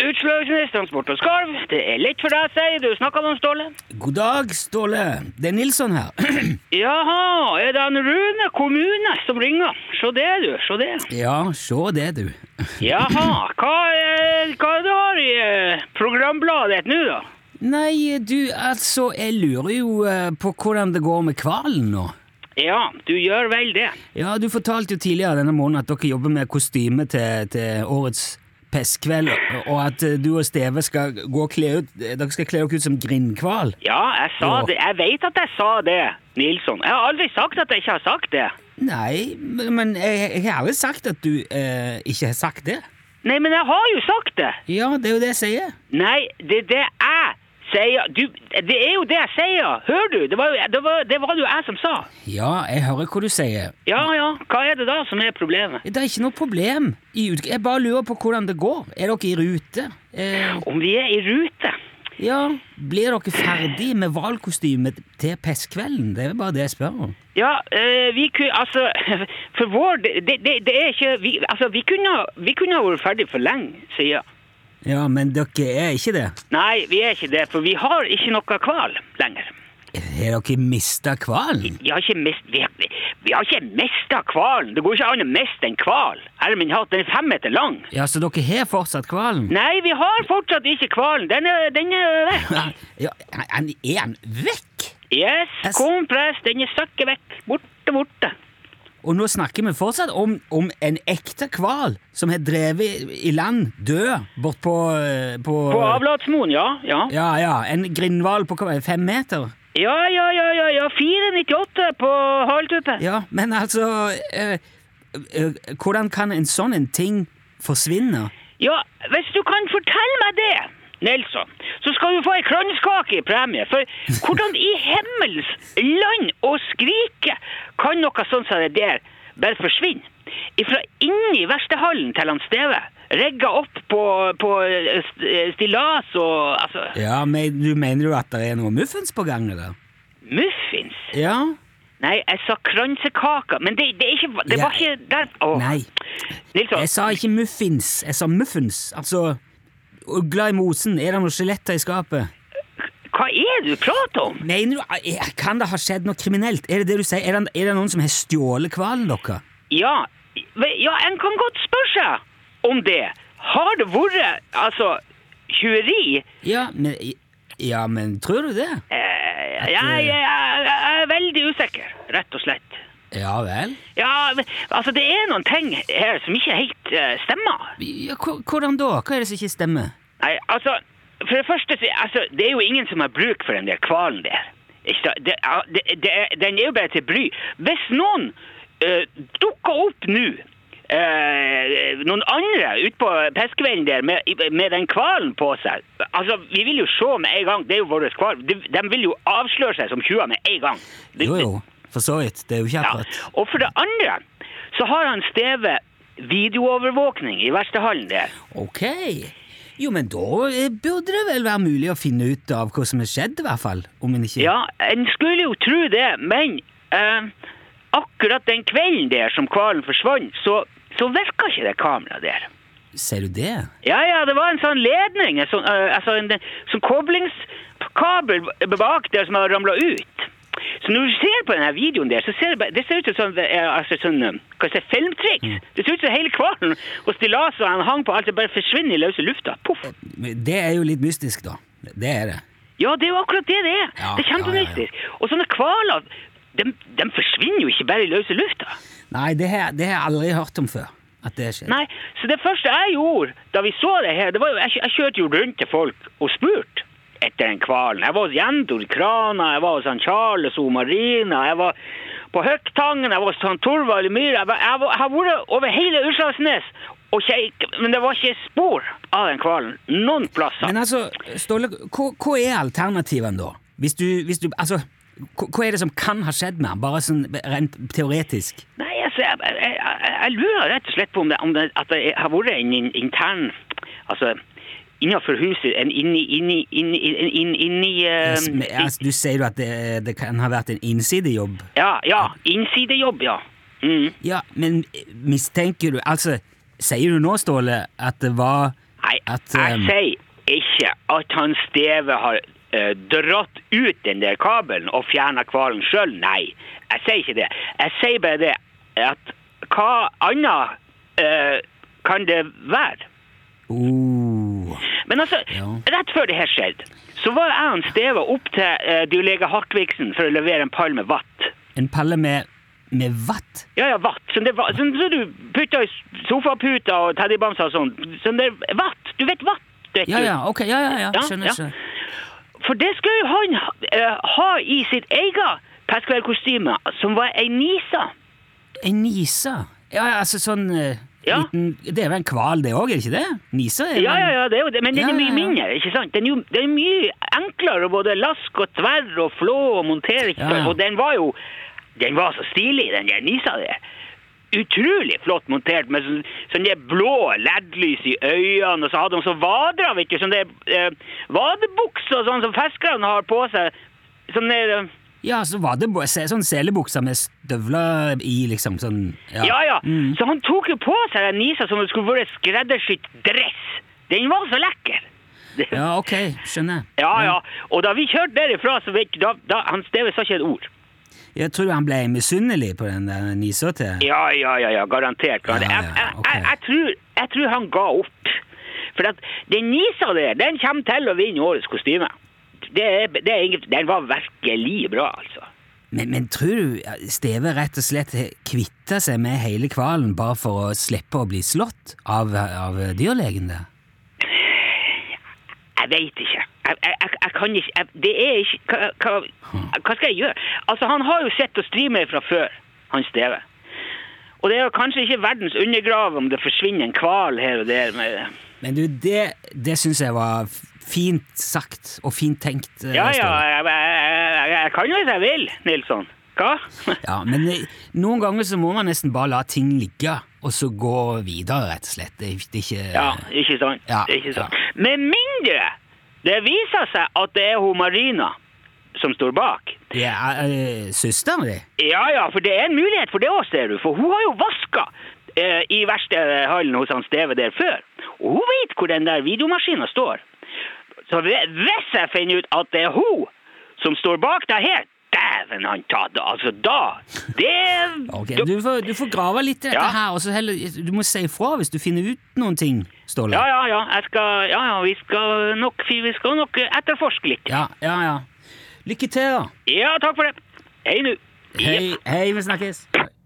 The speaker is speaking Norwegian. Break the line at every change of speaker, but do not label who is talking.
Utslagsnestansport og skarv, det er lett for deg, sier du. Snakker om Ståle?
God dag, Ståle. Det er Nilsson her.
Jaha, er det en Rune kommune som ringer? Se det, du. Se det.
ja, sjå det, du.
Jaha. Hva, eh, hva du har i eh, programbladet nå, da?
Nei, du, altså, jeg lurer jo eh, på hvordan det går med hvalen nå.
Ja, du gjør vel det.
Ja, du fortalte jo tidligere denne måneden at dere jobber med kostyme til, til årets pestkveld, og- og at eh, du og Steve skal gå og kle ut eh, Dere skal kle dere ut som grindhval.
Ja, jeg sa
Jo.
det. Jeg vet at jeg sa det, Nilsson. Jeg har aldri sagt at jeg ikke har sagt det.
Nei, men jeg, jeg har aldri sagt at du eh, ikke har sagt det.
Nei, men jeg har jo sagt det.
Ja, det er jo det jeg sier.
Nei, det er det jeg sier. Du, det er jo det jeg sier. Hører du? Det var, jo- det var, det var det jo jeg som sa.
Ja, jeg hører hva du sier.
Ja, ja. Hva er det da som er problemet?
Det er ikke noe problem. I ut- Jeg bare lurer på hvordan det går. Er dere i rute? Eh,
Om vi er i rute?
ja, Blir dere ferdig med hvalkostymet til pestkvelden? Det er bare det jeg spør om.
Ja, eh, vi kunne Altså, for vår del det, det, det er ikke vi, Altså, vi kunne, vi kunne ha vært ferdig for lenge siden.
Ja, men dere er ikke det.
Nei, vi er ikke det, for vi har ikke noe hval lenger.
Har dere mista hvalen?
Vi har ikke mist, vi, har- vi, vi har ikke mista hvalen. Det går ikke an å miste en hval. Herre min hatt, den er fem meter lang.
Ja, så dere har fortsatt hvalen?
Nei, vi har fortsatt ikke hvalen. Den er, den er vekk.
Ja, han er han vekk?
Yes,
Jeg s-
kompress, den er søkket vekk. Borte, borte.
Og nå snakker vi fortsatt om, om en ekte hval som har drevet i land død bort på eh, På,
På avlatsmoen, ja, ja.
Ja, ja. En grindhval på hva- fem meter?
Ja, ja, ja, ja, ja. 4,98 på halvtuppe.
Ja, men altså eh, eh, Hvordan kan en sånn en ting forsvinne?
Ja, hvis du kan fortelle meg det, Nelson, så skal du få ei kranskake i premie. For hvordan i himmels land og skrike kan noe sånt som det der bare forsvinne? Ifra inni verkstedhallen til han Steve. Rigga opp på, på eh, st- eh, stillas og altså
Ja, men du Mener du at det er noe muffens på gang, eller?
Muffins?
Ja.
Nei, jeg sa kransekaka. Men det, det, er ikke, det
Ja.
var ikke der Åh,
Nei,
Nilsson.
jeg sa ikke muffins. Jeg sa muffens. Altså Ugla i mosen. Er det noen skjeletter i skapet?
Hva er det du prater om?
Mener du eh, Kan det ha skjedd noe kriminelt? Er det det du sier? Er det, er det noen som har stjålet hvalen deres?
Ja, ve- ja, en kan godt spørre seg om det. Har det vært, altså, tjuveri?
Ja, men Ja, men tror du det?
Eh, jeg, jeg, jeg jeg er veldig usikker, rett og slett.
Ja vel?
Ja, men, altså, det er noen ting her som ikke helt eh, stemmer.
Ja, hva- hvordan da? Hva er det som ikke stemmer?
Nei, altså, for det første, så- altså, det er jo ingen som har bruk for den der kvalen der. Ikke sant? Det, ja, det, det, er- den er jo bare til bry. Hvis noen eh, dukker opp nå, eh, noen andre ute på peskeveien der med, med den kvalen på seg, altså, vi vil jo se med en gang, det er jo vår kval, de, de vil jo avsløre seg som tjuver med en gang. Det-
Jo, jo. For så vidt. Det er jo ikke
ja.
akkurat
Og for det andre, så har han Steve videoovervåkning i verstehallen der.
Ok. Jo, men da eh, burde det vel være mulig å finne ut av hva som har skjedd, i hvert fall. Om en ikke
Ja, en skulle jo tro det, men eh, akkurat den kvelden der som hvalen forsvant, så, så virka ikke det kameraet der.
Ser du det?
Ja, ja, det var en sånn ledning, en sånn, eh, altså en sånn koblingskabel bak der som hadde ramla ut. Så når du ser på denne videoen der, så ser det, bare- det ser ut som sånn, eh, altså sånn eh, hva skal jeg si, filmtriks. Det ser ut som hele hvalen og stillaset han hang på, alt det bare forsvinner i løse lufta. Poff.
Men Det er jo litt mystisk, da. Det er det.
Ja, det er jo akkurat det det er.
Ja,
det er kjempemystisk. Og sånne hvaler, de, de forsvinner jo ikke bare i løse lufta.
Nei, det har det har jeg aldri hørt om før. At det skjer.
Nei, så det første jeg gjorde da vi så det her, det var jo, jeg, kjø- jeg kjørte jo rundt til folk og spurte etter den hvalen. Jeg var hos Jendor Krana, jeg var hos han Charles O. Marina, jeg var på Høgtangen, jeg var hos han Torvald i Myra. Jeg var- Jeg var- jeg har vært over hele Utslagsnes, og ikke, men det var ikke spor av den hvalen noen plasser.
Men altså, Ståle, hva, hva er alternativene, da? Hvis du, hvis du Altså, hva, hva er det som kan ha skjedd med han? Bare sånn rent teoretisk?
Nei, altså, jeg, jeg, jeg, jeg lurer rett og slett på om det, om det at det har vært en in- intern Altså, innenfor huset en inni inni inni inni, inni, inni eh,
Yes, men, altså, du sier jo at det, det kan ha vært en innsidejobb.
Ja, ja. Innsidejobb, ja. Mm.
eh, Ja, men mistenker du Altså, sier du nå, Ståle, at det var
Nei, Nei,
At,
jeg
ehm,
sier ikke at han Steve har eh, dratt ut den der kabelen og fjerna hvalen sjøl. Nei, jeg sier ikke det. Jeg sier bare det at hva annet eh, kan det være?
Oh.
Men altså,
Ja.
rett før det her skjedde, så var jeg og Steve opp til uh, dyrlege Hartvigsen for å levere en pall med vatt.
En palle med, med vatt?
Ja, ja, vatt. Sånn det, va- sånn, så du putter i sofaputer og teddybamser og sånn. Sånn det, vatt. Du vet vatt, vet
Ja,
du.
ja, ok, ja, ja, ja.
Ja,
skjønner,
ja.
skjønner.
For det skulle jo han eh, ha i sitt eget pestkveldkostyme, som var ei nise.
En nise? Ja, ja, altså sånn eh,
Ja.
liten Det er vel en hval, det òg, er det ikke det? Nise? er
Ja,
vel-
ja, ja, det er jo det, men den
Ja,
er
ja,
mye
ja.
mindre, ikke sant? Den er, jo, den er mye enklere, å både lask og tverr og flå og montere. ikke
Ja,
sant?
ja.
Og den var jo Den var så stilig, den der nisa der. Utrolig flott montert, med sånn, sånn det blå LED-lys i øynene, og så hadde de så vadra, vet du, sånn det eh, vadebukser og sånn som fiskerne har på seg. Sånn der eh,
Ja, så var det bo- se- sånn selebukser med støvler i, liksom. Sånn
Ja, ja.
Mm.
Så han tok jo på seg den nisa som om det skulle vært skreddersydd dress. Den var så lekker. Ja.
Ja, ok, skjønner.
ja, Og da vi kjørte derifra, så vet du, da, da Han Steve sa ikke et ord.
Jeg tror han ble misunnelig på den der nisa til
Ja, ja, ja, ja garantert.
Ja,
garantert.
ja,
jeg, jeg,
ok.
jeg, jeg, tror, jeg tror han ga opp. For at den nisa der, den kommer til å vinne årets kostyme. Det er, det er ingen, den var virkelig bra, altså.
Men, men tror du Steve rett og slett kvitta seg med hele hvalen bare for å slippe å bli slått av, av dyrlegen der?
Jeg veit ikke. Jeg, jeg, jeg, jeg kan ikke jeg, Det er ikke hva, hva, hva skal jeg gjøre? Altså, han har jo sett å stri med fra før, han Steve. Og det er jo kanskje ikke verdens undergrav om det forsvinner en hval her og der. Men,
Men du, det, det syns jeg var f- fint sagt og fint tenkt. eh,
ja, ja,
Steve.
jeg, jeg, jeg, jeg kan jo hvis jeg vil, Nilsson. Hva?
ja. Men eh, noen ganger så må man nesten bare la ting ligge, og så gå videre, rett og slett. Det, er- det er ikke
Ja, ikke sant?
Ja,
ikke sant.
ja.
Med mindre det viser seg at det er hun Marina som står bak.
Det er eh, søsteren din?
Ja, ja, for det er en mulighet for det òg, ser du. For hun har jo vaska eh, i verkstedhallen hos han Steve der før. Og hun vet hvor den der videomaskina står. Så hve- hvis jeg finner ut at det er hun som står bak det her, dæven han ta det! Altså, da Det
Ok, du får, du får grave litt i dette
Ja.
her, og så heller, du må si ifra hvis du finner ut noen ting, Ståle.
Ja, ja, ja. Jeg skal Ja, ja, vi skal nok, vi skal nok etterforske litt.
ja, ja. ja. Lykke til, da.
Ja, takk for det. Hei nå.
Hei, hei, vi snakkes.